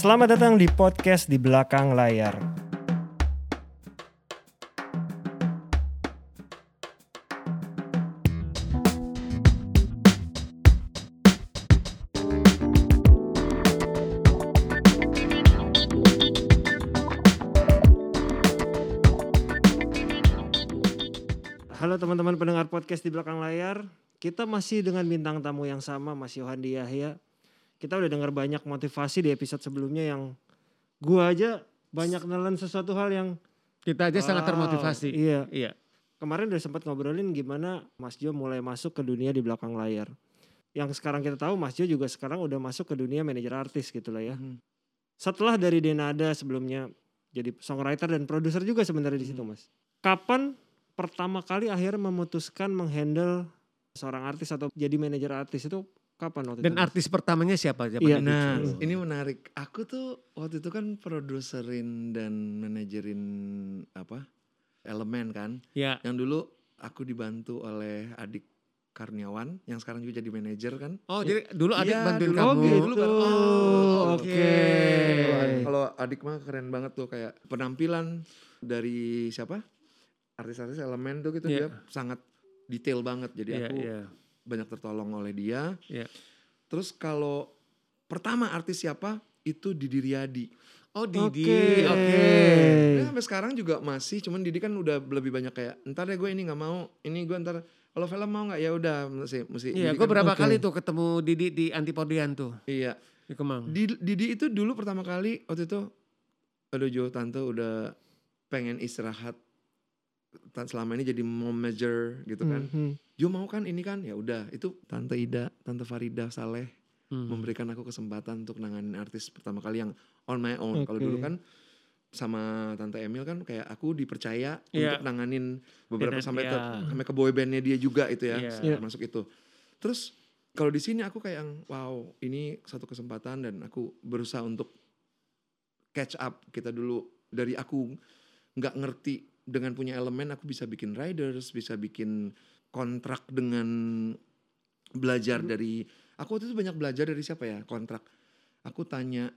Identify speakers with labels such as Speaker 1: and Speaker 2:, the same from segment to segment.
Speaker 1: Selamat datang di podcast di belakang layar. Halo teman-teman pendengar podcast di belakang layar. Kita masih dengan bintang tamu yang sama, Mas Yohandi Yahya. Kita udah dengar banyak motivasi di episode sebelumnya yang gua aja banyak nelen sesuatu hal yang
Speaker 2: Kita aja
Speaker 3: Ah,
Speaker 2: sangat
Speaker 1: Wow,
Speaker 2: termotivasi.
Speaker 1: iya.
Speaker 2: Iya.
Speaker 1: kemarin udah sempat ngobrolin gimana Mas Jo mulai masuk ke dunia di belakang layar. Yang sekarang kita tahu Mas Jo juga sekarang udah masuk ke dunia manajer artis gitu loh ya.
Speaker 2: Hmm.
Speaker 1: Setelah dari Denada sebelumnya jadi songwriter dan produser juga sebenarnya di situ
Speaker 2: Hmm.
Speaker 1: Mas. Kapan pertama kali akhirnya memutuskan menghandle seorang artis atau jadi manajer artis itu kapan waktu
Speaker 2: Dan
Speaker 1: itu? Mas?
Speaker 2: artis pertamanya siapa? siapa
Speaker 1: Iya.
Speaker 2: dulu?
Speaker 3: Nah,
Speaker 1: Betul.
Speaker 3: ini menarik. Aku tuh waktu itu kan produserin dan manajerin apa? Elemen kan.
Speaker 2: Iya.
Speaker 3: Yang dulu aku dibantu oleh adik Karniawan yang sekarang juga jadi manajer kan.
Speaker 2: Oh, jadi dulu adik
Speaker 3: Iya, Iya.
Speaker 2: bantuin
Speaker 3: dulu.
Speaker 2: kamu.
Speaker 1: Oh gitu.
Speaker 3: Dulu baru- Oh,
Speaker 1: Oke.
Speaker 2: oke. Eh.
Speaker 3: Kalau- Kalau adik mah keren banget tuh kayak penampilan dari siapa? Artis-artis elemen tuh gitu
Speaker 2: Iya.
Speaker 3: dia sangat detail banget. Jadi
Speaker 2: Iya,
Speaker 3: aku
Speaker 2: iya.
Speaker 3: banyak tertolong oleh dia.
Speaker 2: Iya.
Speaker 3: Terus kalau pertama artis siapa? Itu Didi Riyadi.
Speaker 2: Oh,
Speaker 1: Oke.
Speaker 2: Didi. Oke. Iya.
Speaker 3: Ya, sampai sekarang juga masih, cuman Didi kan udah lebih banyak kayak, ntar deh gue ini nggak mau, ini gue ntar kalau film mau nggak ya udah mesti mesti.
Speaker 2: Iya,
Speaker 3: Didi
Speaker 2: gue
Speaker 3: kan-
Speaker 2: berapa
Speaker 1: Oke.
Speaker 2: kali tuh ketemu Didi di Antipodian tuh
Speaker 3: Iya.
Speaker 2: di Kemang.
Speaker 3: Di- Didi itu dulu pertama kali waktu itu, aduh Jo tante udah pengen istirahat Tan- selama ini jadi mom major gitu kan.
Speaker 1: Mhm.
Speaker 2: Hmm.
Speaker 3: Jo mau kan ini kan ya udah itu tante Ida, tante Farida Saleh
Speaker 2: Hmm.
Speaker 3: memberikan aku kesempatan untuk nanganin artis pertama kali yang on my own. Kalau
Speaker 1: Oke.
Speaker 3: dulu kan sama tante Emil kan kayak aku dipercaya
Speaker 2: Iya.
Speaker 3: untuk nanganin beberapa
Speaker 2: Dengan-
Speaker 3: sampai ke
Speaker 2: iya.
Speaker 3: sampai ke boybandnya dia juga itu ya
Speaker 1: Iya.
Speaker 2: Iya.
Speaker 3: masuk itu. Terus kalau di sini aku kayak yang wow ini satu kesempatan dan aku berusaha untuk catch up kita dulu dari aku nggak ngerti dengan punya elemen aku bisa bikin riders bisa bikin kontrak dengan belajar
Speaker 2: Hmm.
Speaker 3: dari aku waktu itu banyak belajar dari siapa ya kontrak aku tanya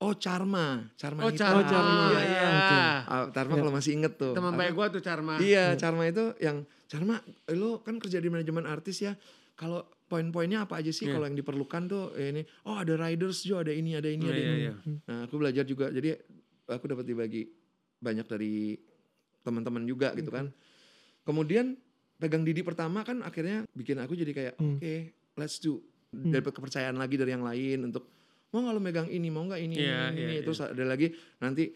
Speaker 3: oh Charma Charma
Speaker 2: Oh,
Speaker 3: Nita.
Speaker 2: Charma.
Speaker 1: Oh, Charma.
Speaker 2: Iya.
Speaker 3: iya
Speaker 1: Oke.
Speaker 3: Ah, Charma
Speaker 1: Iya.
Speaker 3: kalau masih inget tuh
Speaker 2: Teman
Speaker 3: Aku-
Speaker 2: baik gue tuh Charma.
Speaker 3: Iya, Charma itu yang Charma, eh, lo kan kerja di manajemen artis ya. Kalau poin-poinnya apa aja sih
Speaker 2: Iya.
Speaker 3: kalau yang diperlukan tuh eh, ini oh ada riders juga ada ini ada ini
Speaker 2: Iya,
Speaker 3: ada
Speaker 2: iya,
Speaker 3: ini.
Speaker 2: iya.
Speaker 3: Nah, aku belajar juga. Jadi aku dapat dibagi banyak dari teman-teman juga gitu kan. Kemudian pegang Didi pertama kan akhirnya bikin aku jadi kayak
Speaker 1: Hmm.
Speaker 3: oke, let's do
Speaker 2: Hmm.
Speaker 3: dapat kepercayaan lagi dari yang lain untuk mau nggak lo megang ini, mau nggak ini,
Speaker 2: Iya,
Speaker 3: ini, ini.
Speaker 2: iya,
Speaker 3: terus ada lagi nanti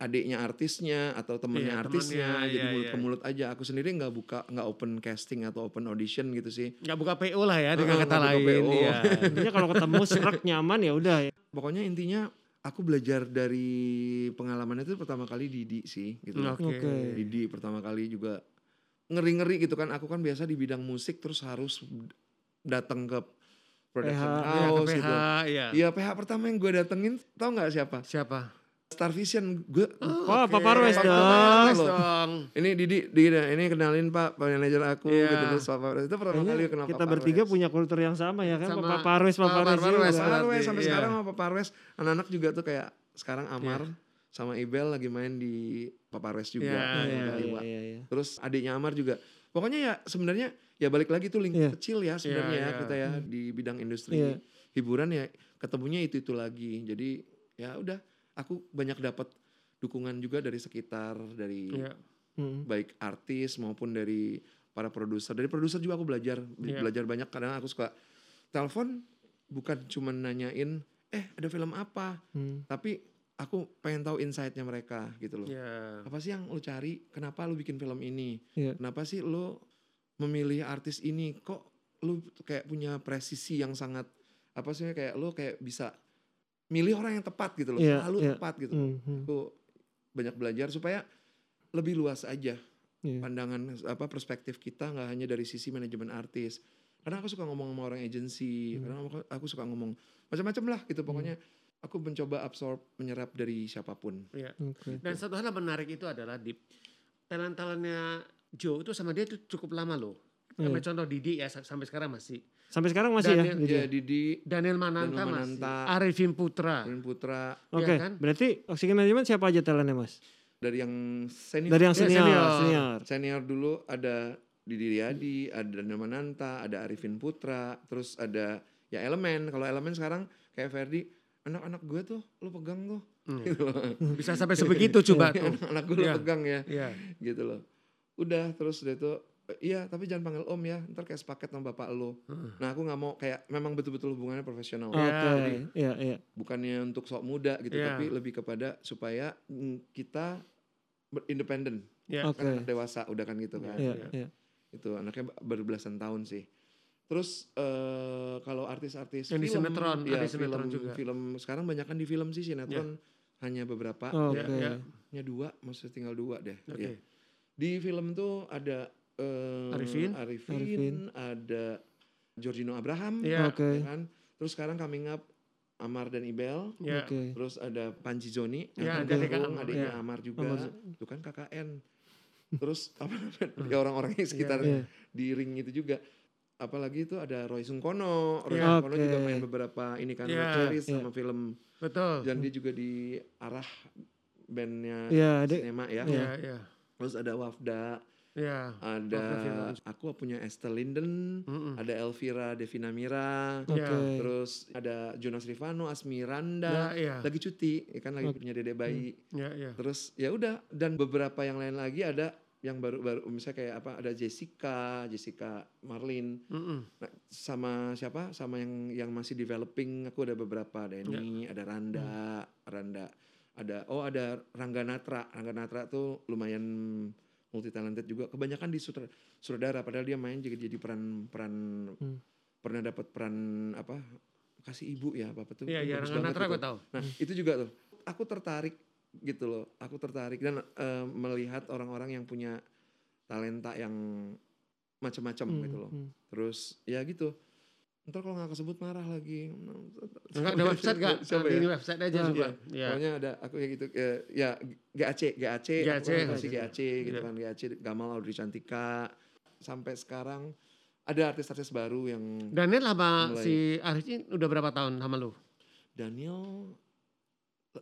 Speaker 3: adiknya artisnya atau temennya
Speaker 2: Iya,
Speaker 3: artisnya
Speaker 2: temennya,
Speaker 3: jadi
Speaker 2: iya,
Speaker 3: mulut ke
Speaker 2: iya.
Speaker 3: mulut aja aku sendiri nggak buka nggak open casting atau open audition gitu sih
Speaker 2: Gak buka PO lah ya dengan
Speaker 3: Heeh,
Speaker 2: kata
Speaker 3: nggak buka
Speaker 2: lain.
Speaker 3: PO.
Speaker 2: Iya.
Speaker 1: Intinya kalau ketemu serak nyaman ya udah ya.
Speaker 3: pokoknya intinya aku belajar dari pengalaman itu pertama kali Didi sih gitu
Speaker 2: Oke.
Speaker 1: Oke.
Speaker 3: Didi pertama kali juga ngeri-ngeri gitu kan. Aku kan biasa di bidang musik terus harus datang ke
Speaker 1: PH,
Speaker 3: production
Speaker 2: Iya, ke
Speaker 3: house
Speaker 2: PH,
Speaker 3: gitu.
Speaker 2: iya.
Speaker 3: Iya PH pertama yang gue datengin tau nggak siapa?
Speaker 2: Siapa?
Speaker 3: Star Vision. Gue
Speaker 1: Wah,
Speaker 2: Oke.
Speaker 1: Pak Parwes
Speaker 2: Pak
Speaker 1: dong.
Speaker 2: Parwes dong.
Speaker 3: ini Didi, Didi dah, ini kenalin Pak, Pak manajer aku
Speaker 2: Iya.
Speaker 3: gitu terus Pak Parwes. Itu pertama kali
Speaker 1: Kayaknya
Speaker 3: kenal
Speaker 1: kita
Speaker 3: Pak
Speaker 1: bertiga
Speaker 3: Parwes.
Speaker 1: punya kultur yang sama ya kan
Speaker 2: Sama
Speaker 1: Pak Parwes, Pak Parwes,
Speaker 2: Pak Parwes,
Speaker 1: juga.
Speaker 3: Pak Parwes
Speaker 2: berarti,
Speaker 3: sampai
Speaker 2: iya.
Speaker 3: sekarang sama Pak Parwes anak-anak juga tuh kayak sekarang Amar sama Ibel lagi main di Pak Parwes juga.
Speaker 2: Iya,
Speaker 1: Iya.
Speaker 3: Nah,
Speaker 1: Iya,
Speaker 3: Iwa.
Speaker 1: iya, iya, iya.
Speaker 3: terus adiknya Amar juga pokoknya ya sebenarnya ya balik lagi tuh link
Speaker 1: Iya.
Speaker 3: kecil ya sebenarnya
Speaker 2: Iya,
Speaker 3: ya
Speaker 2: iya.
Speaker 3: kita ya di bidang industri
Speaker 1: Iya.
Speaker 3: hiburan ya ketemunya itu itu lagi jadi ya udah aku banyak dapat dukungan juga dari sekitar dari
Speaker 2: Iya.
Speaker 1: Mm.
Speaker 3: baik artis maupun dari para produser dari produser juga aku belajar be-
Speaker 2: Iya.
Speaker 3: belajar banyak kadang aku suka telepon bukan cuma nanyain eh ada film apa
Speaker 1: Hmm.
Speaker 3: tapi aku pengen tahu insight-nya mereka gitu loh
Speaker 2: Iya.
Speaker 3: apa sih yang lu cari kenapa lu bikin film ini
Speaker 1: Iya.
Speaker 3: kenapa sih lu memilih artis ini kok lu kayak punya presisi yang sangat apa sih kayak lu kayak bisa milih orang yang tepat gitu loh
Speaker 1: Iya,
Speaker 3: selalu
Speaker 1: iya.
Speaker 3: tepat gitu
Speaker 1: Hmm, hmm.
Speaker 3: aku banyak belajar supaya lebih luas aja
Speaker 1: Iya.
Speaker 3: pandangan apa perspektif kita nggak hanya dari sisi manajemen artis karena aku suka ngomong sama orang agensi
Speaker 1: Hmm.
Speaker 3: karena aku, aku suka ngomong macam-macam lah gitu pokoknya aku mencoba absorb menyerap dari siapapun
Speaker 2: Iya.
Speaker 1: Oke.
Speaker 2: Dan satu hal yang menarik itu adalah di talent-talentnya Joe itu sama dia itu cukup lama loh.
Speaker 3: Iya.
Speaker 2: Ambil contoh Didi ya sa- sampai sekarang masih.
Speaker 1: Sampai sekarang masih ya?
Speaker 2: Daniel-
Speaker 1: Didi?
Speaker 2: iya,
Speaker 3: Ya Didi,
Speaker 2: Daniel Mananta,
Speaker 3: Daniel Mananta.
Speaker 2: masih. Arifin Putra.
Speaker 3: Rin Putra
Speaker 1: Oke,
Speaker 2: Iya kan?
Speaker 1: berarti Oxygen Management siapa aja talentnya mas?
Speaker 3: dari yang senior
Speaker 1: Dari yang
Speaker 2: Iya,
Speaker 1: senior,
Speaker 2: senior.
Speaker 1: senior.
Speaker 3: senior dulu ada Didi Riyadi, ada Daniel Mananta, ada Arifin Putra, terus ada ya Elemen. Kalau Elemen sekarang kayak Ferdi, anak-anak gue tuh lo pegang tuh.
Speaker 2: Hmm.
Speaker 3: Gitu loh.
Speaker 2: Bisa sampai sebegitu coba tuh.
Speaker 3: anak-anak gue lo
Speaker 2: Iya.
Speaker 3: pegang ya,
Speaker 2: Iya.
Speaker 3: gitu loh. Udah terus dia tuh "E, Iya, tapi jangan panggil om ya. Ntar kayak sepaket sama bapak lo.
Speaker 2: Heeh.
Speaker 3: Nah, aku nggak mau kayak memang betul-betul hubungannya profesional.
Speaker 1: Oke,
Speaker 2: jadi-
Speaker 1: iya iya.
Speaker 3: bukannya untuk sok muda gitu
Speaker 2: Iya.
Speaker 3: tapi lebih kepada supaya mm, kita ber- independen
Speaker 2: Iya.
Speaker 1: Oke.
Speaker 3: kan anak dewasa udah kan gitu kan
Speaker 1: Iya
Speaker 2: Iya.
Speaker 1: iya.
Speaker 3: itu anaknya ba- berbelasan tahun sih terus eh, kalau artis-artis
Speaker 2: Yang di
Speaker 3: film,
Speaker 2: sinetron,
Speaker 3: ya,
Speaker 2: artis sinetron
Speaker 3: film,
Speaker 2: juga. Ya.
Speaker 3: film sekarang banyak kan di film sih sinetron hanya beberapa
Speaker 1: Oke.
Speaker 2: iya.
Speaker 3: hanya dua maksudnya tinggal dua deh
Speaker 2: Oke.
Speaker 3: ya. di film tuh ada eh,
Speaker 2: Arifin.
Speaker 3: Arifin,
Speaker 1: Arifin.
Speaker 3: ada Giorgino Abraham
Speaker 2: Iya.
Speaker 1: Oke.
Speaker 3: ya kan terus sekarang coming up Amar dan Ibel
Speaker 2: Iya.
Speaker 1: Oke.
Speaker 3: Terus ada Panji Joni,
Speaker 2: Ya,
Speaker 3: yang
Speaker 1: ada
Speaker 3: Tulung,
Speaker 2: kakak Amar,
Speaker 3: adiknya
Speaker 2: ya.
Speaker 3: Amar juga.
Speaker 1: Amar.
Speaker 3: Itu kan KKN. Terus apa namanya?
Speaker 2: Hmm.
Speaker 3: ya orang-orang yang sekitar
Speaker 1: Iya.
Speaker 3: di ring itu juga. Apalagi itu ada Roy Sungkono. Roy
Speaker 2: Ya.
Speaker 3: Sungkono juga
Speaker 1: Oke.
Speaker 3: main beberapa ini kan
Speaker 2: Ya.
Speaker 3: web series
Speaker 1: Ya.
Speaker 3: sama film.
Speaker 2: Betul.
Speaker 3: Dan dia juga di arah bandnya
Speaker 1: Iya, dia-
Speaker 3: sinema ya.
Speaker 2: Iya, iya.
Speaker 3: Terus ada Wafda,
Speaker 2: Iya.
Speaker 3: ada
Speaker 2: Wafda Hmm. Firman.
Speaker 3: aku punya Esther Linden,
Speaker 2: Mm-mm.
Speaker 3: ada Elvira Devina Mira,
Speaker 2: Iya.
Speaker 1: Oke.
Speaker 3: terus ada Jonas Rivano,
Speaker 2: Nah,
Speaker 3: Asmiranda,
Speaker 2: Iya.
Speaker 3: lagi cuti, ya kan lagi punya dedek bayi.
Speaker 2: Iya, iya.
Speaker 3: Terus ya udah dan beberapa yang lain lagi ada yang baru-baru misalnya kayak apa ada Jessica, Jessica Marlin,
Speaker 2: Mm-mm.
Speaker 3: Nah, sama siapa? Sama yang yang masih developing aku ada beberapa ada ini,
Speaker 2: Ya.
Speaker 3: ada Randa,
Speaker 2: Hmm.
Speaker 3: Randa, ada oh ada Rangga Natra, Rangga Natra tuh lumayan multi talented juga. Kebanyakan di sutra- sutradara padahal dia main jadi jadi peran peran
Speaker 1: Hmm.
Speaker 3: pernah dapat peran apa? kasih ibu ya apa tuh?
Speaker 2: Iya, iya.
Speaker 3: Bagus
Speaker 2: Rangan
Speaker 3: banget
Speaker 2: Natra
Speaker 3: itu.
Speaker 2: gue tahu.
Speaker 3: Nah, itu juga tuh. Aku tertarik gitu loh. Aku tertarik dan eh, melihat orang-orang yang punya talenta yang macam-macam
Speaker 1: Hmm,
Speaker 3: gitu loh.
Speaker 1: hmm.
Speaker 3: Terus ya gitu. Ntar kalau nggak kesebut marah lagi.
Speaker 2: Enggak ada website gak?
Speaker 3: Siapa
Speaker 2: Di
Speaker 3: ya?
Speaker 2: website aja
Speaker 1: Nah,
Speaker 2: coba.
Speaker 3: iya.
Speaker 2: Iya.
Speaker 3: Pokoknya ada aku kayak gitu eh, ya GAC, GAC,
Speaker 2: GAC,
Speaker 3: aku kasih
Speaker 2: iya.
Speaker 3: GAC gitu
Speaker 2: Iya.
Speaker 3: kan GAC Gamal Audrey Cantika sampai sekarang ada artis-artis baru yang
Speaker 2: Daniel sama
Speaker 3: Mulai.
Speaker 2: si Arif ini udah berapa tahun sama lu?
Speaker 3: Daniel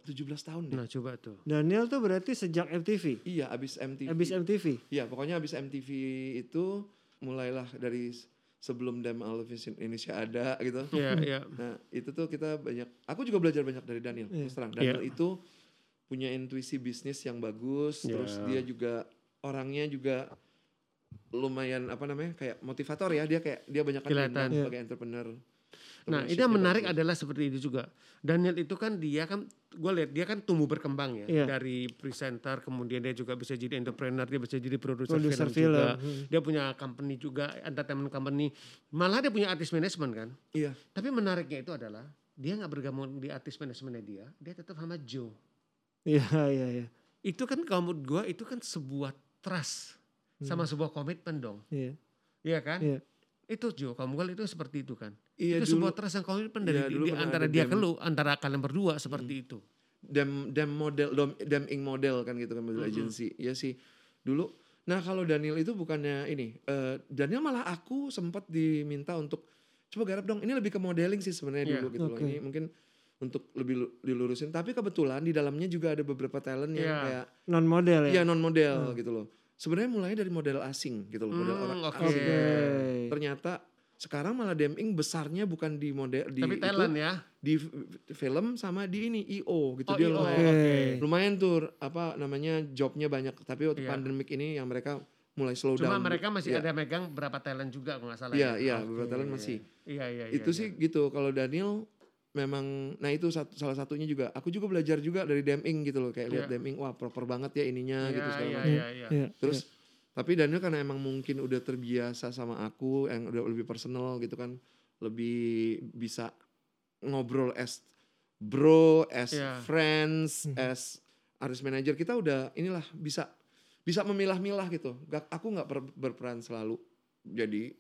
Speaker 3: 17 tahun deh.
Speaker 2: Nah coba tuh.
Speaker 1: Daniel tuh berarti sejak MTV.
Speaker 3: Iya, abis MTV.
Speaker 1: Abis MTV.
Speaker 3: Iya, pokoknya abis MTV itu mulailah dari s- sebelum Dem Alvis Indonesia ada gitu.
Speaker 2: Iya, iya.
Speaker 3: Nah, itu tuh kita banyak. Aku juga belajar banyak dari Daniel.
Speaker 1: Iya.
Speaker 3: Terus terang, Daniel itu punya intuisi bisnis yang bagus.
Speaker 2: Iya.
Speaker 3: Terus dia juga orangnya juga lumayan apa namanya kayak motivator ya. Dia kayak dia banyak
Speaker 2: Kelihatan.
Speaker 1: Iya.
Speaker 3: sebagai entrepreneur.
Speaker 2: Nah ini yang menarik adalah seperti itu juga. Daniel itu kan dia kan, gue lihat dia kan tumbuh berkembang ya.
Speaker 1: Iya.
Speaker 2: Dari presenter, kemudian dia juga bisa jadi entrepreneur, dia bisa jadi produser film,
Speaker 1: Produser film.
Speaker 2: juga.
Speaker 1: Hmm.
Speaker 2: Dia punya company juga, entertainment company. Malah dia punya artis management kan.
Speaker 3: Iya.
Speaker 2: Tapi menariknya itu adalah, dia nggak bergabung di artis manajemennya dia, dia tetap sama Joe.
Speaker 1: Iya iya iya.
Speaker 2: Itu kan kalau menurut gue itu kan sebuah trust. Sama sebuah komitmen dong.
Speaker 1: Iya.
Speaker 2: Iya kan?
Speaker 1: Hmm. Iya.
Speaker 2: Itu Jo, kamu kan itu seperti itu kan.
Speaker 3: Iya,
Speaker 2: itu
Speaker 3: dulu
Speaker 2: sebuah trust yang komitmen dari
Speaker 3: Iya,
Speaker 2: di-
Speaker 3: dulu
Speaker 2: di
Speaker 3: pernah
Speaker 2: antara
Speaker 3: ada Hmm.
Speaker 2: dia
Speaker 3: dem-
Speaker 2: ke lu, antara kalian berdua seperti itu.
Speaker 3: dem dem model dem, dem ing model kan gitu kan model
Speaker 2: Mhm.
Speaker 3: agency ya sih dulu nah kalau Daniel itu bukannya ini eh, Daniel malah aku sempat diminta untuk coba garap dong ini lebih ke modeling sih sebenarnya
Speaker 2: Iya,
Speaker 3: dulu gitu loh
Speaker 1: oke.
Speaker 3: ini mungkin untuk lebih lu- dilurusin tapi kebetulan di dalamnya juga ada beberapa talent yang
Speaker 2: Iya.
Speaker 3: kayak
Speaker 1: Non model ya.
Speaker 3: ya non model gitu loh sebenarnya mulainya dari model asing gitu loh model
Speaker 2: Hmm,
Speaker 3: orang
Speaker 2: oke.
Speaker 1: Oke.
Speaker 3: asing
Speaker 1: Iya,
Speaker 3: ternyata sekarang malah dem ing besarnya bukan di model di
Speaker 2: Tapi
Speaker 3: itu,
Speaker 2: talent ya.
Speaker 3: di f- film sama di ini IO gitu
Speaker 2: Oh, iya,
Speaker 3: dia lumayan
Speaker 2: oke.
Speaker 3: lumayan tuh apa namanya jobnya banyak tapi waktu
Speaker 2: Iya.
Speaker 3: pandemik ini yang mereka mulai slow
Speaker 2: Cuma
Speaker 3: down
Speaker 2: mereka masih
Speaker 3: Iya.
Speaker 2: ada megang berapa talent juga kalau nggak salah.
Speaker 3: Iya,
Speaker 2: ya.
Speaker 3: iya,
Speaker 2: Oke.
Speaker 3: beberapa talent masih.
Speaker 2: Iya, iya, iya.
Speaker 3: itu
Speaker 2: iya.
Speaker 3: sih gitu kalau Daniel memang nah itu satu, salah satunya juga aku juga belajar juga dari Deming gitu loh kayak lihat
Speaker 2: Iya.
Speaker 3: Deming wah proper banget ya ininya
Speaker 2: Iya,
Speaker 3: gitu segala
Speaker 2: iya,
Speaker 3: macam.
Speaker 2: iya, iya.
Speaker 1: Iya,
Speaker 3: terus tapi Daniel karena emang mungkin udah terbiasa sama aku yang udah lebih personal gitu kan lebih bisa ngobrol as bro as
Speaker 2: Iya.
Speaker 3: friends
Speaker 2: Hmm.
Speaker 1: Mhm.
Speaker 3: as artist manager kita udah inilah bisa bisa memilah-milah gitu Gak, aku nggak per- berperan selalu jadi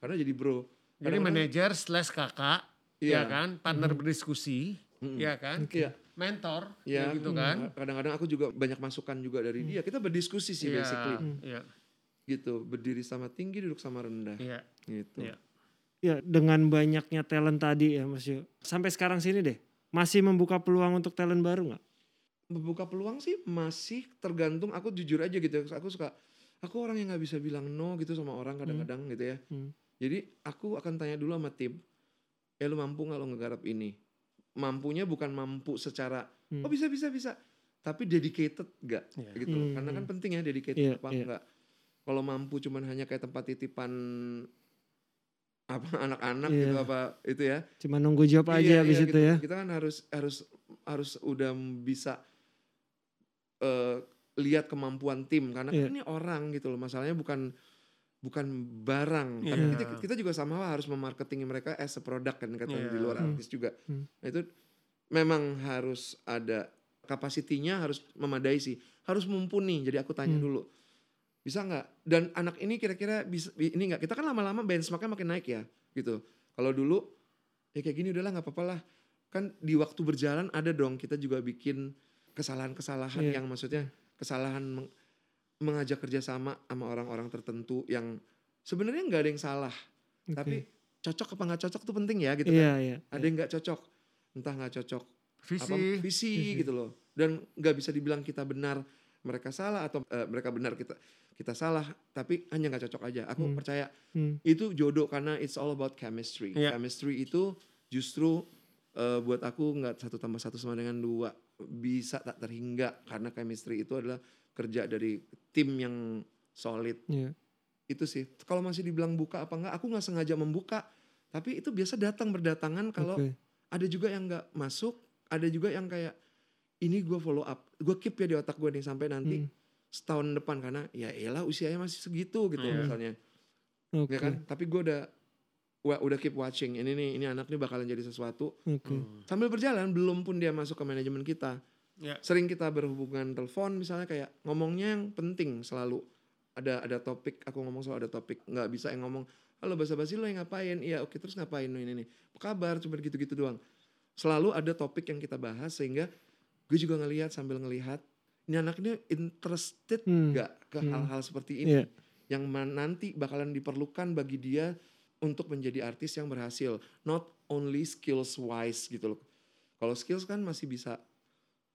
Speaker 3: karena jadi bro
Speaker 2: Jadi
Speaker 3: Kadang-kadang-
Speaker 2: manajer slash kakak,
Speaker 3: Iya.
Speaker 2: ya kan? Partner berdiskusi,
Speaker 3: Mm-mm.
Speaker 2: ya kan?
Speaker 3: Iya.
Speaker 2: Mentor, ya
Speaker 3: ya
Speaker 2: gitu kan? Hmm.
Speaker 3: kadang-kadang aku juga banyak masukan juga dari dia kita berdiskusi sih
Speaker 2: Iya,
Speaker 3: basically
Speaker 2: Iya.
Speaker 3: gitu berdiri sama tinggi duduk sama rendah
Speaker 2: Iya.
Speaker 3: gitu
Speaker 2: Iya.
Speaker 1: Ya, dengan banyaknya talent tadi ya Mas Yo. Sampai sekarang sini deh, masih membuka peluang untuk talent baru nggak?
Speaker 3: membuka peluang sih masih tergantung aku jujur aja gitu ya. aku suka aku orang yang nggak bisa bilang no gitu sama orang kadang-kadang gitu ya
Speaker 1: Hmm.
Speaker 3: jadi aku akan tanya dulu sama tim ya lu mampu nggak lo ngegarap ini mampunya bukan mampu secara
Speaker 1: Hmm.
Speaker 3: oh bisa bisa bisa tapi dedicated nggak
Speaker 2: Iya.
Speaker 3: gitu loh.
Speaker 1: Hmm,
Speaker 3: karena kan
Speaker 1: hmm.
Speaker 3: penting ya dedicated
Speaker 1: Iya,
Speaker 3: apa
Speaker 1: iya.
Speaker 3: enggak kalau mampu cuman hanya kayak tempat titipan apa anak-anak
Speaker 1: Iya.
Speaker 3: gitu apa itu ya
Speaker 1: Cuma nunggu job
Speaker 3: Iya,
Speaker 1: aja habis
Speaker 3: iya,
Speaker 1: itu
Speaker 3: gitu.
Speaker 1: ya.
Speaker 3: Kita kan harus harus harus udah bisa eh, lihat kemampuan tim karena
Speaker 1: Iya.
Speaker 3: kan ini orang gitu loh. Masalahnya bukan bukan barang. Tapi
Speaker 2: Iya.
Speaker 3: kita, kita juga sama lah harus memarketing mereka as a product kan kata
Speaker 2: Iya.
Speaker 3: di luar
Speaker 1: Hmm.
Speaker 3: artis juga.
Speaker 1: Hmm.
Speaker 3: Nah, itu memang harus ada kapasitinya harus memadai sih. Harus mumpuni. Jadi aku
Speaker 1: Hmm.
Speaker 3: tanya dulu bisa nggak dan anak ini kira-kira bisa ini nggak kita kan lama-lama benchmarknya makin naik ya gitu kalau dulu ya kayak gini udahlah nggak apa-apa lah kan di waktu berjalan ada dong kita juga bikin kesalahan-kesalahan
Speaker 1: Iya.
Speaker 3: yang maksudnya kesalahan meng- mengajak kerjasama sama orang-orang tertentu yang sebenarnya nggak ada yang salah
Speaker 1: Oke.
Speaker 3: tapi cocok apa nggak cocok tuh penting ya gitu
Speaker 1: iya,
Speaker 3: kan
Speaker 1: iya.
Speaker 3: ada yang nggak cocok entah nggak cocok
Speaker 2: Visi.
Speaker 3: apa visi
Speaker 1: Iya.
Speaker 3: gitu loh dan nggak bisa dibilang kita benar mereka salah atau eh, mereka benar kita kita salah tapi hanya nggak cocok aja aku
Speaker 1: Hmm.
Speaker 3: percaya
Speaker 1: Hmm.
Speaker 3: itu jodoh karena it's all about chemistry
Speaker 1: Ya.
Speaker 2: Iya.
Speaker 3: chemistry itu justru eh, buat aku nggak satu tambah satu sama dengan dua bisa tak terhingga karena chemistry itu adalah kerja dari tim yang solid
Speaker 1: Iya.
Speaker 3: itu sih kalau masih dibilang buka apa enggak aku nggak sengaja membuka tapi itu biasa datang berdatangan kalau
Speaker 1: Oke.
Speaker 3: ada juga yang nggak masuk, ada juga yang kayak ini gue follow up, gue keep ya di otak gue nih sampai nanti
Speaker 1: Hmm.
Speaker 3: setahun depan karena ya elah usianya masih segitu
Speaker 1: Oh,
Speaker 3: gitu
Speaker 2: Iya.
Speaker 3: misalnya,
Speaker 1: Oke.
Speaker 3: ya kan? Tapi gue udah wa- udah keep watching ini nih ini anak nih bakalan jadi sesuatu
Speaker 1: Oke.
Speaker 2: Hmm.
Speaker 3: sambil berjalan belum pun dia masuk ke manajemen kita
Speaker 2: Iya.
Speaker 3: sering kita berhubungan telepon misalnya kayak ngomongnya yang penting selalu ada ada topik aku ngomong selalu ada topik nggak bisa yang ngomong halo basa-basi lo yang ngapain iya oke terus ngapain lo ini nih apa kabar cuma gitu-gitu doang selalu ada topik yang kita bahas sehingga gue juga ngelihat sambil ngelihat ini anaknya interested
Speaker 1: Hmm.
Speaker 3: nggak ke
Speaker 1: Hmm.
Speaker 3: hal-hal seperti ini
Speaker 1: Iya.
Speaker 3: yang man- nanti bakalan diperlukan bagi dia untuk menjadi artis yang berhasil not only skills wise gitu loh kalau skills kan masih bisa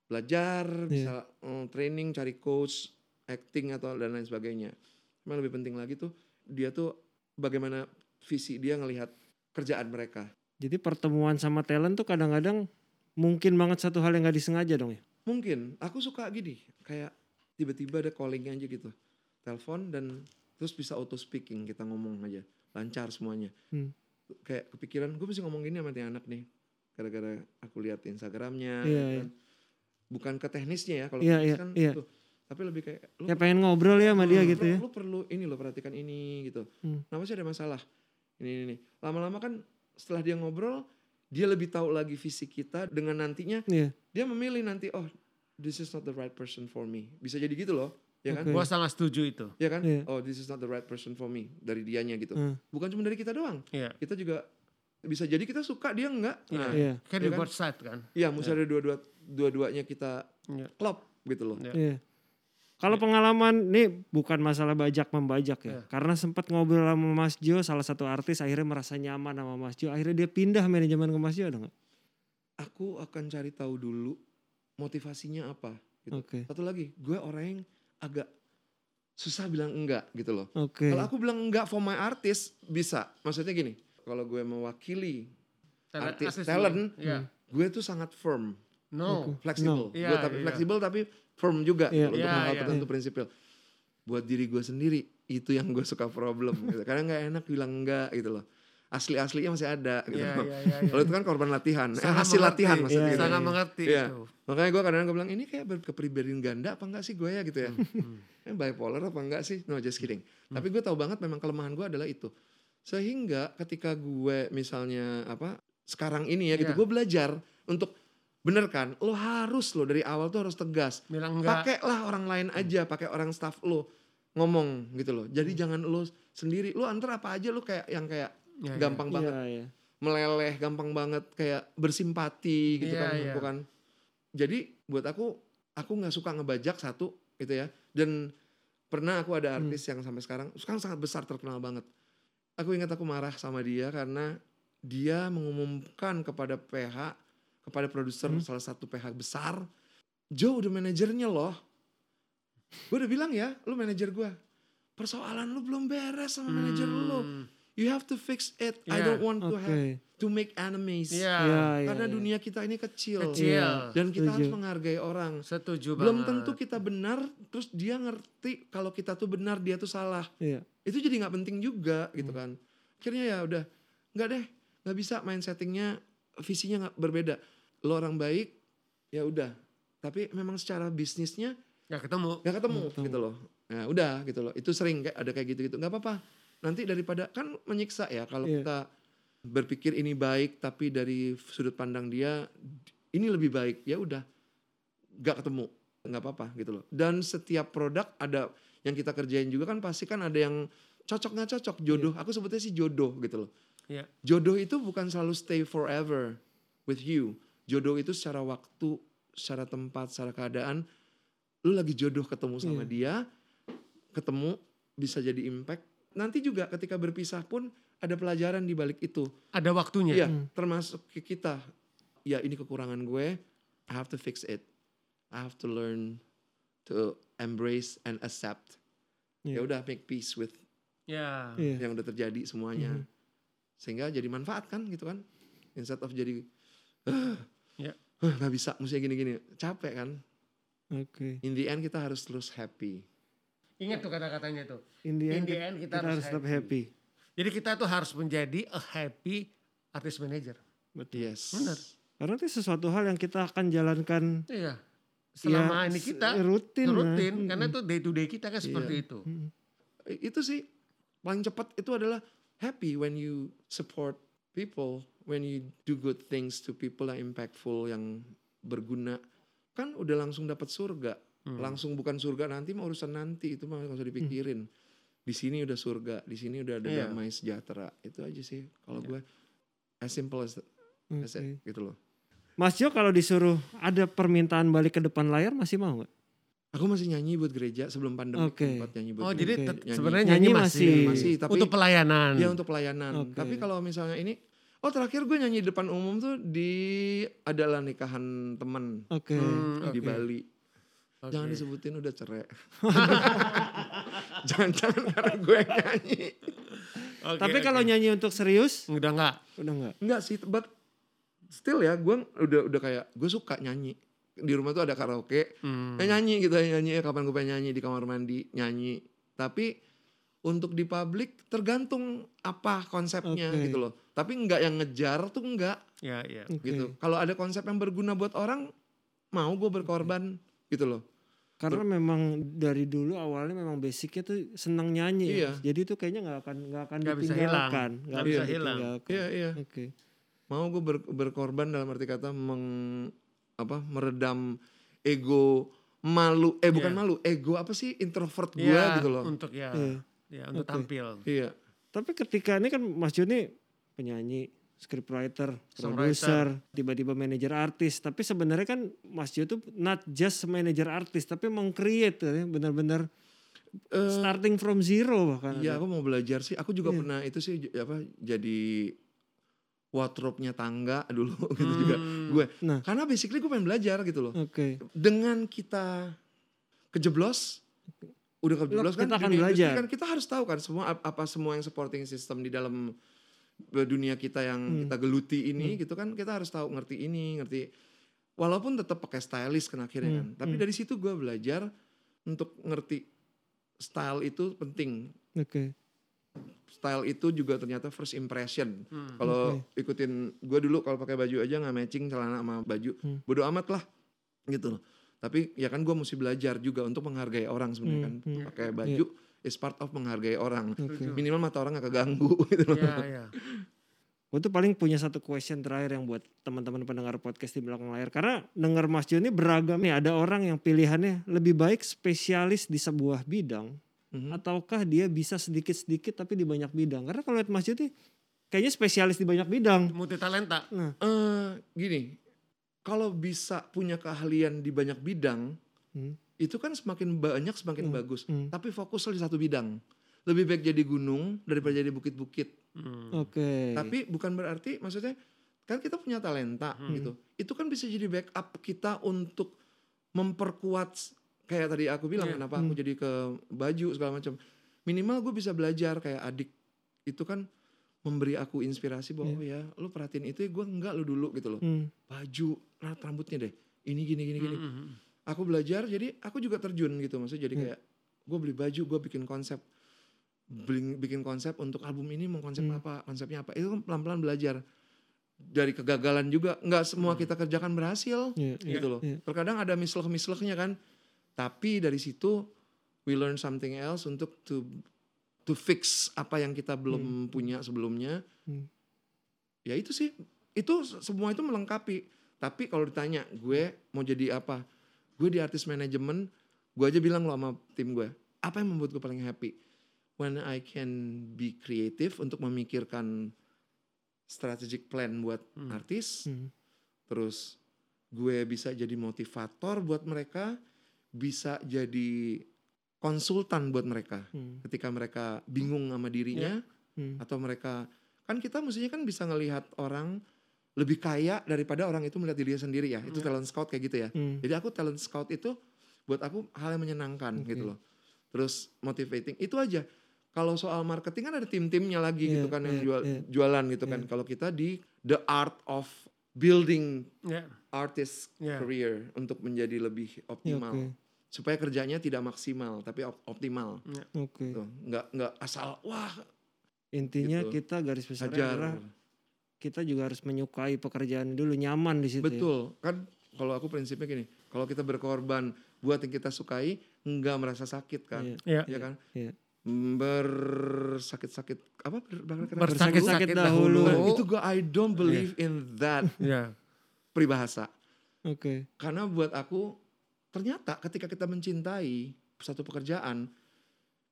Speaker 3: belajar
Speaker 1: Iya.
Speaker 3: bisa mm, training cari coach acting atau dan lain sebagainya cuma lebih penting lagi tuh dia tuh bagaimana visi dia ngelihat kerjaan mereka
Speaker 1: Jadi pertemuan sama talent tuh kadang-kadang mungkin banget satu hal yang nggak disengaja dong ya.
Speaker 3: mungkin aku suka gini kayak tiba-tiba ada calling aja gitu telepon dan terus bisa auto speaking kita ngomong aja lancar semuanya
Speaker 1: Hmm.
Speaker 3: kayak kepikiran gue mesti ngomong gini sama nih anak nih gara-gara aku lihat instagramnya
Speaker 1: Iya,
Speaker 3: kan. bukan ke teknisnya ya kalau
Speaker 1: Iya,
Speaker 3: teknis
Speaker 1: iya,
Speaker 3: kan
Speaker 1: iya.
Speaker 3: tuh. tapi lebih kayak lu
Speaker 1: Ya pengen ngobrol ya sama dia
Speaker 3: Hmm,
Speaker 1: gitu
Speaker 3: lu-
Speaker 1: ya.
Speaker 3: Lu perlu ini lo perhatikan ini gitu.
Speaker 1: Hmm.
Speaker 3: Kenapa sih ada masalah? Ini ini ini. Lama-lama kan setelah dia ngobrol, dia lebih tahu lagi visi kita dengan nantinya
Speaker 1: Iya.
Speaker 3: dia memilih nanti oh this is not the right person for me. Bisa jadi gitu loh, ya kan?
Speaker 1: Oke.
Speaker 2: Gua sangat setuju itu.
Speaker 3: Ya kan?
Speaker 1: Iya.
Speaker 3: Oh this is not the right person for me dari dianya gitu.
Speaker 1: Hmm.
Speaker 3: Bukan cuma dari kita doang.
Speaker 2: Iya.
Speaker 3: Kita juga bisa jadi kita suka dia enggak.
Speaker 2: Iya.
Speaker 3: Nah,
Speaker 1: Iya.
Speaker 2: Kan
Speaker 3: Iya
Speaker 2: di
Speaker 3: kan?
Speaker 2: both side kan.
Speaker 3: iya mesti ada dua-dua dua-duanya kita
Speaker 2: Iya.
Speaker 3: klop gitu loh.
Speaker 2: Iya.
Speaker 1: Iya. Kalau pengalaman nih bukan masalah bajak membajak ya.
Speaker 2: Iya.
Speaker 1: Karena sempat ngobrol sama Mas Jo, salah satu artis akhirnya merasa nyaman sama Mas Jo, akhirnya dia pindah manajemen ke Mas Jo ada nggak?
Speaker 3: Aku akan cari tahu dulu motivasinya apa gitu.
Speaker 1: Oke.
Speaker 3: Satu lagi, gue orang yang agak susah bilang enggak gitu loh.
Speaker 1: Oke.
Speaker 3: Kalau aku bilang enggak for my artist bisa. Maksudnya gini, kalau gue mewakili,
Speaker 2: Talent-
Speaker 3: Artis,
Speaker 2: artis
Speaker 3: talent. Hmm.
Speaker 2: dulu. Iya.
Speaker 3: gue tuh sangat firm,
Speaker 2: No. No.
Speaker 3: fleksibel.
Speaker 2: Iya,
Speaker 3: gue tapi
Speaker 2: iya.
Speaker 3: fleksibel tapi firm juga
Speaker 1: Iya.
Speaker 3: gitu, untuk
Speaker 2: Iya,
Speaker 3: hal
Speaker 2: iya.
Speaker 3: tertentu prinsipil. Buat diri gue sendiri itu yang gue suka problem. gitu. Karena nggak enak bilang enggak gitu loh. Asli-aslinya masih ada gitu.
Speaker 2: Iya, iya, iya, iya.
Speaker 3: Kalau itu kan korban latihan, eh,
Speaker 2: Sangat
Speaker 3: hasil
Speaker 2: mengerti.
Speaker 3: latihan maksudnya.
Speaker 1: Iya,
Speaker 3: gitu.
Speaker 2: Sangat mengerti
Speaker 3: Iya.
Speaker 2: itu.
Speaker 3: Makanya gue kadang-kadang gue bilang ini kayak ber- kepribadian ganda apa enggak sih gue ya gitu ya.
Speaker 2: Hmm,
Speaker 3: Ini bipolar apa enggak sih? No just kidding. Tapi gue tahu banget memang kelemahan gue adalah itu. Sehingga ketika gue misalnya apa sekarang ini ya gitu
Speaker 2: Iya.
Speaker 3: gue belajar untuk bener kan lo harus lo dari awal tuh harus tegas.
Speaker 2: Bilang enggak. ya, Hmm.
Speaker 3: Pakailah orang lain aja, pakai orang staff lo ngomong gitu loh. Jadi jangan lo sendiri. Lo antar apa aja lo kayak yang kayak
Speaker 2: Iya,
Speaker 3: gampang banget
Speaker 1: Iya, iya.
Speaker 3: meleleh gampang banget kayak bersimpati gitu
Speaker 2: Iya,
Speaker 3: kan
Speaker 2: iya.
Speaker 3: bukan jadi buat aku aku nggak suka ngebajak satu gitu ya dan Pernah aku
Speaker 2: Hmm.
Speaker 3: ada artis yang sampai sekarang, sekarang sangat besar terkenal banget. Aku ingat aku marah sama dia karena dia mengumumkan kepada PH, kepada produser
Speaker 1: Hmm.
Speaker 3: salah satu PH besar, Joe udah manajernya loh. Gue udah bilang ya, lu manajer gue. Persoalan lu belum beres sama manajer lu.
Speaker 2: Hmm. Iya,
Speaker 3: You have to fix it. I
Speaker 2: Yeah.
Speaker 3: don't want to
Speaker 1: Oke.
Speaker 3: have to make enemies.
Speaker 2: Iya.
Speaker 1: Iya, iya,
Speaker 3: Karena
Speaker 1: iya.
Speaker 3: dunia kita ini kecil.
Speaker 2: Kecil.
Speaker 1: Iya.
Speaker 3: Dan kita harus
Speaker 1: Setuju.
Speaker 3: menghargai orang.
Speaker 2: Setuju banget.
Speaker 3: Belum tentu kita benar, terus dia ngerti kalau kita tuh benar, dia tuh salah.
Speaker 1: Iya.
Speaker 3: Itu jadi nggak penting juga
Speaker 1: Hmm.
Speaker 3: gitu kan. Akhirnya ya udah, nggak deh, nggak bisa main settingnya, visinya nggak berbeda. Lo orang baik, ya udah. Tapi memang secara bisnisnya
Speaker 2: Nggak ketemu.
Speaker 3: nggak ketemu
Speaker 1: Nggak ketemu.
Speaker 3: gitu loh. Nah udah gitu loh. Itu sering kayak ada kayak gitu-gitu. Nggak apa-apa. Nanti daripada kan menyiksa ya kalau
Speaker 1: Iya.
Speaker 3: kita berpikir ini baik tapi dari sudut pandang dia ini lebih baik ya udah nggak ketemu nggak apa-apa gitu loh dan setiap produk ada yang kita kerjain juga kan pasti kan ada yang cocok nggak cocok jodoh aku sebutnya sih jodoh gitu loh
Speaker 2: Iya.
Speaker 3: jodoh itu bukan selalu stay forever with you jodoh itu secara waktu secara tempat secara keadaan lu lagi jodoh ketemu
Speaker 1: Iya.
Speaker 3: sama dia ketemu bisa jadi impact nanti juga ketika berpisah pun ada pelajaran di balik itu
Speaker 2: Ada waktunya.
Speaker 3: Iya,
Speaker 1: Hmm.
Speaker 3: termasuk ke kita. Ya ini kekurangan gue. I have to fix it. I have to learn to embrace and accept. Ya
Speaker 1: Iya.
Speaker 3: udah make peace with
Speaker 2: Iya.
Speaker 1: Iya.
Speaker 3: yang udah terjadi semuanya.
Speaker 1: Mhm.
Speaker 3: Sehingga jadi manfaat kan gitu kan. Instead of jadi
Speaker 1: Ya.
Speaker 2: Iya.
Speaker 3: "Huh, nggak bisa mesti gini-gini. Capek kan.
Speaker 1: Oke.
Speaker 3: In the end kita harus terus happy.
Speaker 2: Ingat tuh kata-katanya tuh.
Speaker 1: In the
Speaker 3: Iya,
Speaker 1: end,
Speaker 2: In the
Speaker 1: kita-
Speaker 2: end,
Speaker 1: kita, harus tetap happy.
Speaker 2: Jadi kita tuh harus menjadi a happy artist manager.
Speaker 3: Yes.
Speaker 2: Bener.
Speaker 1: Karena itu sesuatu hal yang kita akan jalankan ya,
Speaker 2: Iya. Selama ini kita
Speaker 1: se- rutin, nah. Hmm, lah.
Speaker 2: rutin
Speaker 3: hmm.
Speaker 1: Mm-mm.
Speaker 2: karena tuh day to day kita
Speaker 3: Iya.
Speaker 2: kan seperti itu.
Speaker 1: Mm-mm.
Speaker 3: I- Itu sih paling cepat itu adalah happy when you support people, when you do good things to people yang impactful, yang berguna. Kan udah langsung dapat surga.
Speaker 2: Hmm.
Speaker 3: Langsung bukan surga nanti mah urusan nanti itu mah nggak usah dipikirin. Di sini udah surga, di sini udah ada
Speaker 2: Iya.
Speaker 3: damai sejahtera. Itu aja sih kalau gue as simple as,
Speaker 2: Hmm,
Speaker 3: as
Speaker 1: Oke.
Speaker 2: iya.
Speaker 3: it, gitu loh.
Speaker 1: Mas Jo kalau disuruh ada permintaan balik ke depan layar masih mau nggak?
Speaker 3: Aku masih nyanyi buat gereja sebelum pandemi
Speaker 1: Oke.
Speaker 3: sempat nyanyi buat
Speaker 2: Oh,
Speaker 3: gereja.
Speaker 2: jadi
Speaker 1: Oke.
Speaker 2: tet-
Speaker 3: Nyanyi.
Speaker 2: sebenarnya
Speaker 1: Nyanyi
Speaker 2: nyanyi,
Speaker 1: masih.
Speaker 2: masih,
Speaker 3: Masih, tapi-
Speaker 2: untuk pelayanan.
Speaker 3: Iya untuk pelayanan.
Speaker 1: Oke.
Speaker 3: Tapi kalau misalnya ini, oh terakhir gue nyanyi depan umum tuh di adalah nikahan temen
Speaker 1: Oke.
Speaker 2: Hmm,
Speaker 1: oke.
Speaker 3: di Bali.
Speaker 2: Oke.
Speaker 3: Jangan disebutin udah cerai. Jangan-jangan karena gue yang nyanyi.
Speaker 2: Oke,
Speaker 1: Tapi
Speaker 2: oke.
Speaker 1: kalau nyanyi untuk serius
Speaker 2: udah enggak.
Speaker 1: udah nggak?
Speaker 3: Enggak sih, but still ya gue udah udah kayak gue suka nyanyi. Di rumah tuh ada karaoke,
Speaker 2: Hmm.
Speaker 3: Ya nyanyi gitu ya nyanyi ya, kapan gue pengen nyanyi di kamar mandi nyanyi. Tapi untuk di publik tergantung apa konsepnya
Speaker 1: Oke.
Speaker 3: gitu loh. Tapi nggak yang ngejar tuh nggak
Speaker 2: Ya, ya.
Speaker 1: Oke.
Speaker 3: gitu. Kalau ada konsep yang berguna buat orang, mau gue berkorban gitu loh.
Speaker 1: Karena memang dari dulu awalnya memang basicnya tuh senang nyanyi. ya.
Speaker 3: Iya.
Speaker 1: Jadi itu kayaknya nggak akan nggak akan
Speaker 2: Nggak bisa hilang.
Speaker 1: ditinggalkan,
Speaker 2: Nggak
Speaker 1: akan
Speaker 2: bisa hilang.
Speaker 1: ditinggalkan.
Speaker 3: Iya iya.
Speaker 1: Oke.
Speaker 3: Mau gue ber- berkorban dalam arti kata meng apa meredam ego malu eh bukan
Speaker 2: Iya.
Speaker 3: malu ego apa sih introvert gue
Speaker 2: Ya,
Speaker 3: gitu loh.
Speaker 2: Untuk ya.
Speaker 1: Iya.
Speaker 2: Ya, untuk
Speaker 1: Oke.
Speaker 2: tampil.
Speaker 3: Iya.
Speaker 1: Tapi ketika ini kan Mas Jo ini penyanyi, scriptwriter, produser, tiba-tiba manajer artis. Tapi sebenarnya kan Mas Jo tuh not just manajer artis, tapi meng-create ya, benar-benar
Speaker 3: Eh,
Speaker 1: starting from zero bahkan. Nah, ada.
Speaker 3: Iya, aku mau belajar sih. Aku juga
Speaker 1: Iya.
Speaker 3: pernah itu sih j- apa jadi wardrobe-nya tangga dulu gitu juga.
Speaker 2: Hmm,
Speaker 3: Gue
Speaker 1: Nah.
Speaker 3: karena basically gue pengen belajar gitu loh.
Speaker 1: Oke.
Speaker 3: Dengan kita kejeblos udah kejeblos kan
Speaker 1: Kita akan
Speaker 3: dunia industri
Speaker 1: belajar.
Speaker 3: kan kita harus tahu kan semua ap- apa semua yang supporting system di dalam dunia kita yang
Speaker 1: Hmm.
Speaker 3: kita geluti ini gitu kan kita harus tahu ngerti ini, ngerti walaupun tetap pakai stylist kan akhirnya
Speaker 1: Hmm,
Speaker 3: kan. Tapi
Speaker 1: hmm.
Speaker 3: dari situ gue belajar untuk ngerti style itu penting
Speaker 1: Oke.
Speaker 3: style itu juga ternyata first impression.
Speaker 2: Hmm.
Speaker 3: Kalau ikutin gue dulu kalau pakai baju aja nggak matching celana sama baju,
Speaker 1: Hmm.
Speaker 3: bodo amat lah gitu loh. Tapi ya kan gue mesti belajar juga untuk menghargai orang sebenarnya
Speaker 1: Hmm,
Speaker 3: kan
Speaker 1: hmm.
Speaker 3: pakai baju is part of menghargai orang.
Speaker 1: Oke.
Speaker 3: Minimal mata orang gak keganggu gitu loh.
Speaker 2: Ya, ya.
Speaker 1: Gue tuh paling punya satu question terakhir yang buat teman-teman pendengar podcast di belakang layar. Karena dengar Mas Jo ini beragam nih. Ada orang yang pilihannya lebih baik spesialis di sebuah bidang.
Speaker 3: Mhm.
Speaker 1: Ataukah dia bisa sedikit-sedikit tapi di banyak bidang. Karena kalau lihat Mas Jo ini kayaknya spesialis di banyak bidang.
Speaker 2: Multi talenta.
Speaker 1: Nah
Speaker 3: Eh, gini, kalau bisa punya keahlian di banyak bidang,
Speaker 1: Hmm.
Speaker 3: itu kan semakin banyak semakin
Speaker 1: Hmm,
Speaker 3: bagus.
Speaker 1: hmm.
Speaker 3: Tapi fokus di satu bidang. Lebih baik jadi gunung daripada jadi bukit-bukit.
Speaker 2: Hmm.
Speaker 1: Oke.
Speaker 3: Tapi bukan berarti maksudnya kan kita punya talenta
Speaker 2: Hmm.
Speaker 3: gitu. Itu kan bisa jadi backup kita untuk memperkuat s- kayak tadi aku bilang
Speaker 2: Iya.
Speaker 3: kenapa aku
Speaker 1: Hmm.
Speaker 3: jadi ke baju segala macam. Minimal gue bisa belajar kayak adik itu kan memberi aku inspirasi bahwa oh ya lu perhatiin itu ya gue enggak lu dulu gitu loh.
Speaker 1: Iya. Hmm,
Speaker 3: Baju, nah rambutnya deh. Ini gini gini gini.
Speaker 2: Hmm.
Speaker 3: Aku belajar jadi aku juga terjun gitu maksudnya jadi
Speaker 1: Hmm.
Speaker 3: kayak gue beli baju, gue bikin konsep beli- bikin konsep untuk album ini mau konsep
Speaker 1: Hmm.
Speaker 3: apa, konsepnya apa. Itu kan pelan-pelan belajar. Dari kegagalan juga nggak semua
Speaker 2: Hmm.
Speaker 3: kita kerjakan berhasil
Speaker 1: iya, iya.
Speaker 3: gitu loh.
Speaker 1: iya.
Speaker 3: Terkadang ada misleh-mislehnya kan. Tapi dari situ we learn something else untuk to to fix apa yang kita belum punya sebelumnya.
Speaker 1: Hmm.
Speaker 3: Ya itu sih. Itu se- semua itu melengkapi. Tapi kalau ditanya gue mau jadi apa? Gue di artis manajemen, gue aja bilang lo sama tim gue, apa yang membuat gue paling happy? When I can be creative untuk memikirkan strategic plan buat
Speaker 2: Hmm.
Speaker 3: artis,
Speaker 1: Hmm.
Speaker 3: terus gue bisa jadi motivator buat mereka, bisa jadi konsultan buat mereka
Speaker 1: Hmm.
Speaker 3: ketika mereka bingung sama dirinya
Speaker 1: Hmm.
Speaker 3: atau mereka kan kita mestinya kan bisa ngelihat orang lebih kaya daripada orang itu melihat dirinya sendiri ya. Itu
Speaker 2: Iya.
Speaker 3: talent scout kayak gitu ya.
Speaker 1: Hmm.
Speaker 3: Jadi aku talent scout itu buat aku hal yang menyenangkan
Speaker 1: Oke.
Speaker 3: gitu loh. Terus motivating itu aja. Kalau soal marketing kan ada tim-timnya lagi
Speaker 1: Iya,
Speaker 3: gitu kan yang
Speaker 1: iya,
Speaker 3: jual-
Speaker 1: iya.
Speaker 3: jualan gitu kan.
Speaker 1: Iya.
Speaker 3: Kalau kita di the art of building
Speaker 2: Ya,
Speaker 3: artist
Speaker 2: ya.
Speaker 3: career untuk menjadi lebih
Speaker 1: Iya,
Speaker 3: optimal.
Speaker 1: Oke.
Speaker 3: Supaya kerjanya tidak maksimal tapi op- optimal.
Speaker 1: Oke.
Speaker 3: Tuh, nggak nggak asal wah
Speaker 1: Intinya
Speaker 3: gitu.
Speaker 1: kita garis besarnya adalah
Speaker 3: hajar.
Speaker 1: kita juga harus menyukai pekerjaan dulu, nyaman di situ. ya.
Speaker 3: Betul. Kan kalau aku prinsipnya gini, kalau kita berkorban buat yang kita sukai nggak merasa sakit kan.
Speaker 1: Iya.
Speaker 2: Ya.
Speaker 3: Iya kan?
Speaker 1: Iya.
Speaker 3: Bersakit-sakit apa ber- ber- Nah,
Speaker 1: Ber-
Speaker 2: Bersakit-sakit
Speaker 1: Bersakit
Speaker 2: dahulu.
Speaker 1: dahulu.
Speaker 3: itu gue I don't believe
Speaker 1: Iya.
Speaker 3: in that
Speaker 2: Ya.
Speaker 3: peribahasa.
Speaker 1: Oke.
Speaker 3: Karena buat aku ternyata ketika kita mencintai satu pekerjaan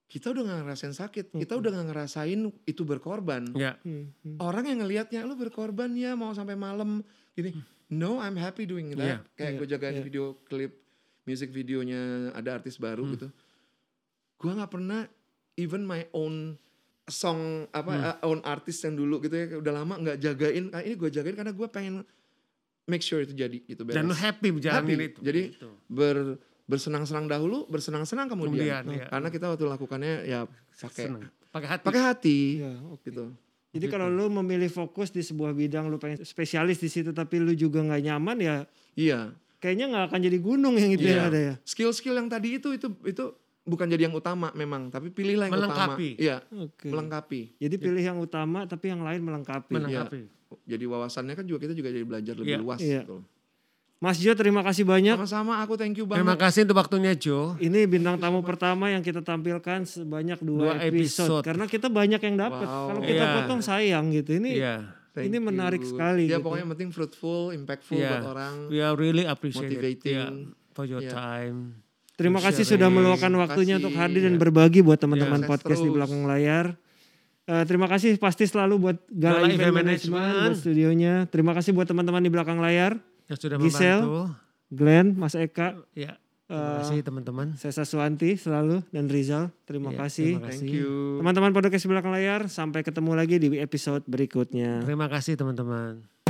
Speaker 3: kita udah gak ngerasain sakit, kita
Speaker 1: Mm-mm.
Speaker 3: udah gak ngerasain itu berkorban.
Speaker 2: Ya.
Speaker 1: Hmm, hmm.
Speaker 3: Orang yang ngelihatnya lu berkorban ya mau sampai malam gini. No, I'm happy doing that. Kayak
Speaker 1: Iya,
Speaker 3: gue jagain
Speaker 1: iya.
Speaker 3: video klip music videonya ada artis baru
Speaker 2: Hmm.
Speaker 3: gitu. Gue nggak pernah even my own song apa
Speaker 2: Hmm.
Speaker 3: uh, own artis yang dulu gitu ya udah lama nggak jagain. Ah, ini gue jagain karena gue pengen make sure itu jadi gitu beres.
Speaker 2: Dan lu happy
Speaker 3: Happy.
Speaker 2: menjalani itu.
Speaker 3: Jadi-
Speaker 2: Gitu.
Speaker 3: Ber bersenang-senang dahulu, bersenang-senang kemudian. Nah,
Speaker 2: kemudian
Speaker 1: iya.
Speaker 2: ya.
Speaker 3: Karena kita waktu lakukannya ya pakai
Speaker 2: Seneng. pakai hati.
Speaker 3: pakai hati
Speaker 1: Iya, oke.
Speaker 3: gitu.
Speaker 1: Jadi
Speaker 2: Gitu.
Speaker 1: kalau lu memilih fokus di sebuah bidang lu pengen spesialis di situ tapi lu juga nggak nyaman ya
Speaker 3: Iya.
Speaker 1: kayaknya nggak akan jadi gunung yang itu
Speaker 3: Iya.
Speaker 1: yang ada ya.
Speaker 3: skill-skill yang tadi itu itu itu bukan jadi yang utama memang tapi pilihlah yang
Speaker 2: Melengkapi.
Speaker 3: utama iya
Speaker 1: Oke.
Speaker 3: melengkapi
Speaker 1: Jadi pilih yang utama tapi yang lain melengkapi.
Speaker 3: iya.
Speaker 2: Menangkapi.
Speaker 3: jadi wawasannya kan juga kita juga jadi belajar lebih
Speaker 2: Iya.
Speaker 3: luas
Speaker 1: Iya.
Speaker 3: gitu
Speaker 1: Mas Jo terima kasih banyak.
Speaker 3: sama-sama aku thank you
Speaker 2: Terima
Speaker 3: banget
Speaker 2: kasih untuk waktunya Jo.
Speaker 1: Ini bintang tamu pertama yang kita tampilkan sebanyak dua,
Speaker 2: Dua
Speaker 1: episode.
Speaker 2: episode.
Speaker 1: karena kita banyak yang dapat.
Speaker 3: Wow.
Speaker 1: Kalau kita
Speaker 2: Iya.
Speaker 1: potong sayang gitu. Ini
Speaker 2: Iya.
Speaker 1: ini
Speaker 3: Thank
Speaker 1: menarik
Speaker 3: you.
Speaker 1: sekali
Speaker 3: ya
Speaker 1: gitu.
Speaker 3: pokoknya yang penting fruitful impactful
Speaker 2: Iya.
Speaker 3: buat orang
Speaker 2: We are really appreciate it.
Speaker 3: Motivating.
Speaker 2: Yeah. For your
Speaker 3: Iya.
Speaker 2: time.
Speaker 1: Terima kasih
Speaker 2: Sharing.
Speaker 1: sudah meluangkan waktunya
Speaker 3: Kasih.
Speaker 1: untuk hadir dan
Speaker 3: Ya.
Speaker 1: berbagi buat teman-teman
Speaker 3: Ya, sukses
Speaker 1: podcast di
Speaker 3: terus.
Speaker 1: belakang layar. Eh, terima kasih pasti selalu buat Gala,
Speaker 2: Gala
Speaker 1: Event
Speaker 2: Event
Speaker 1: Management,
Speaker 2: Management.
Speaker 1: buat studionya. Terima kasih buat teman-teman di belakang layar.
Speaker 2: Yang sudah
Speaker 1: Giselle.
Speaker 2: membantu.
Speaker 1: Glenn, Mas Eka,
Speaker 2: Ya. Terima
Speaker 3: Eh.
Speaker 2: kasih teman-teman.
Speaker 1: saya Saswanti selalu dan Rizal. Terima
Speaker 2: Iya,
Speaker 1: kasih.
Speaker 2: terima
Speaker 3: thank you
Speaker 1: Teman-teman podcast di belakang layar, sampai ketemu lagi di episode berikutnya.
Speaker 2: Terima kasih teman-teman.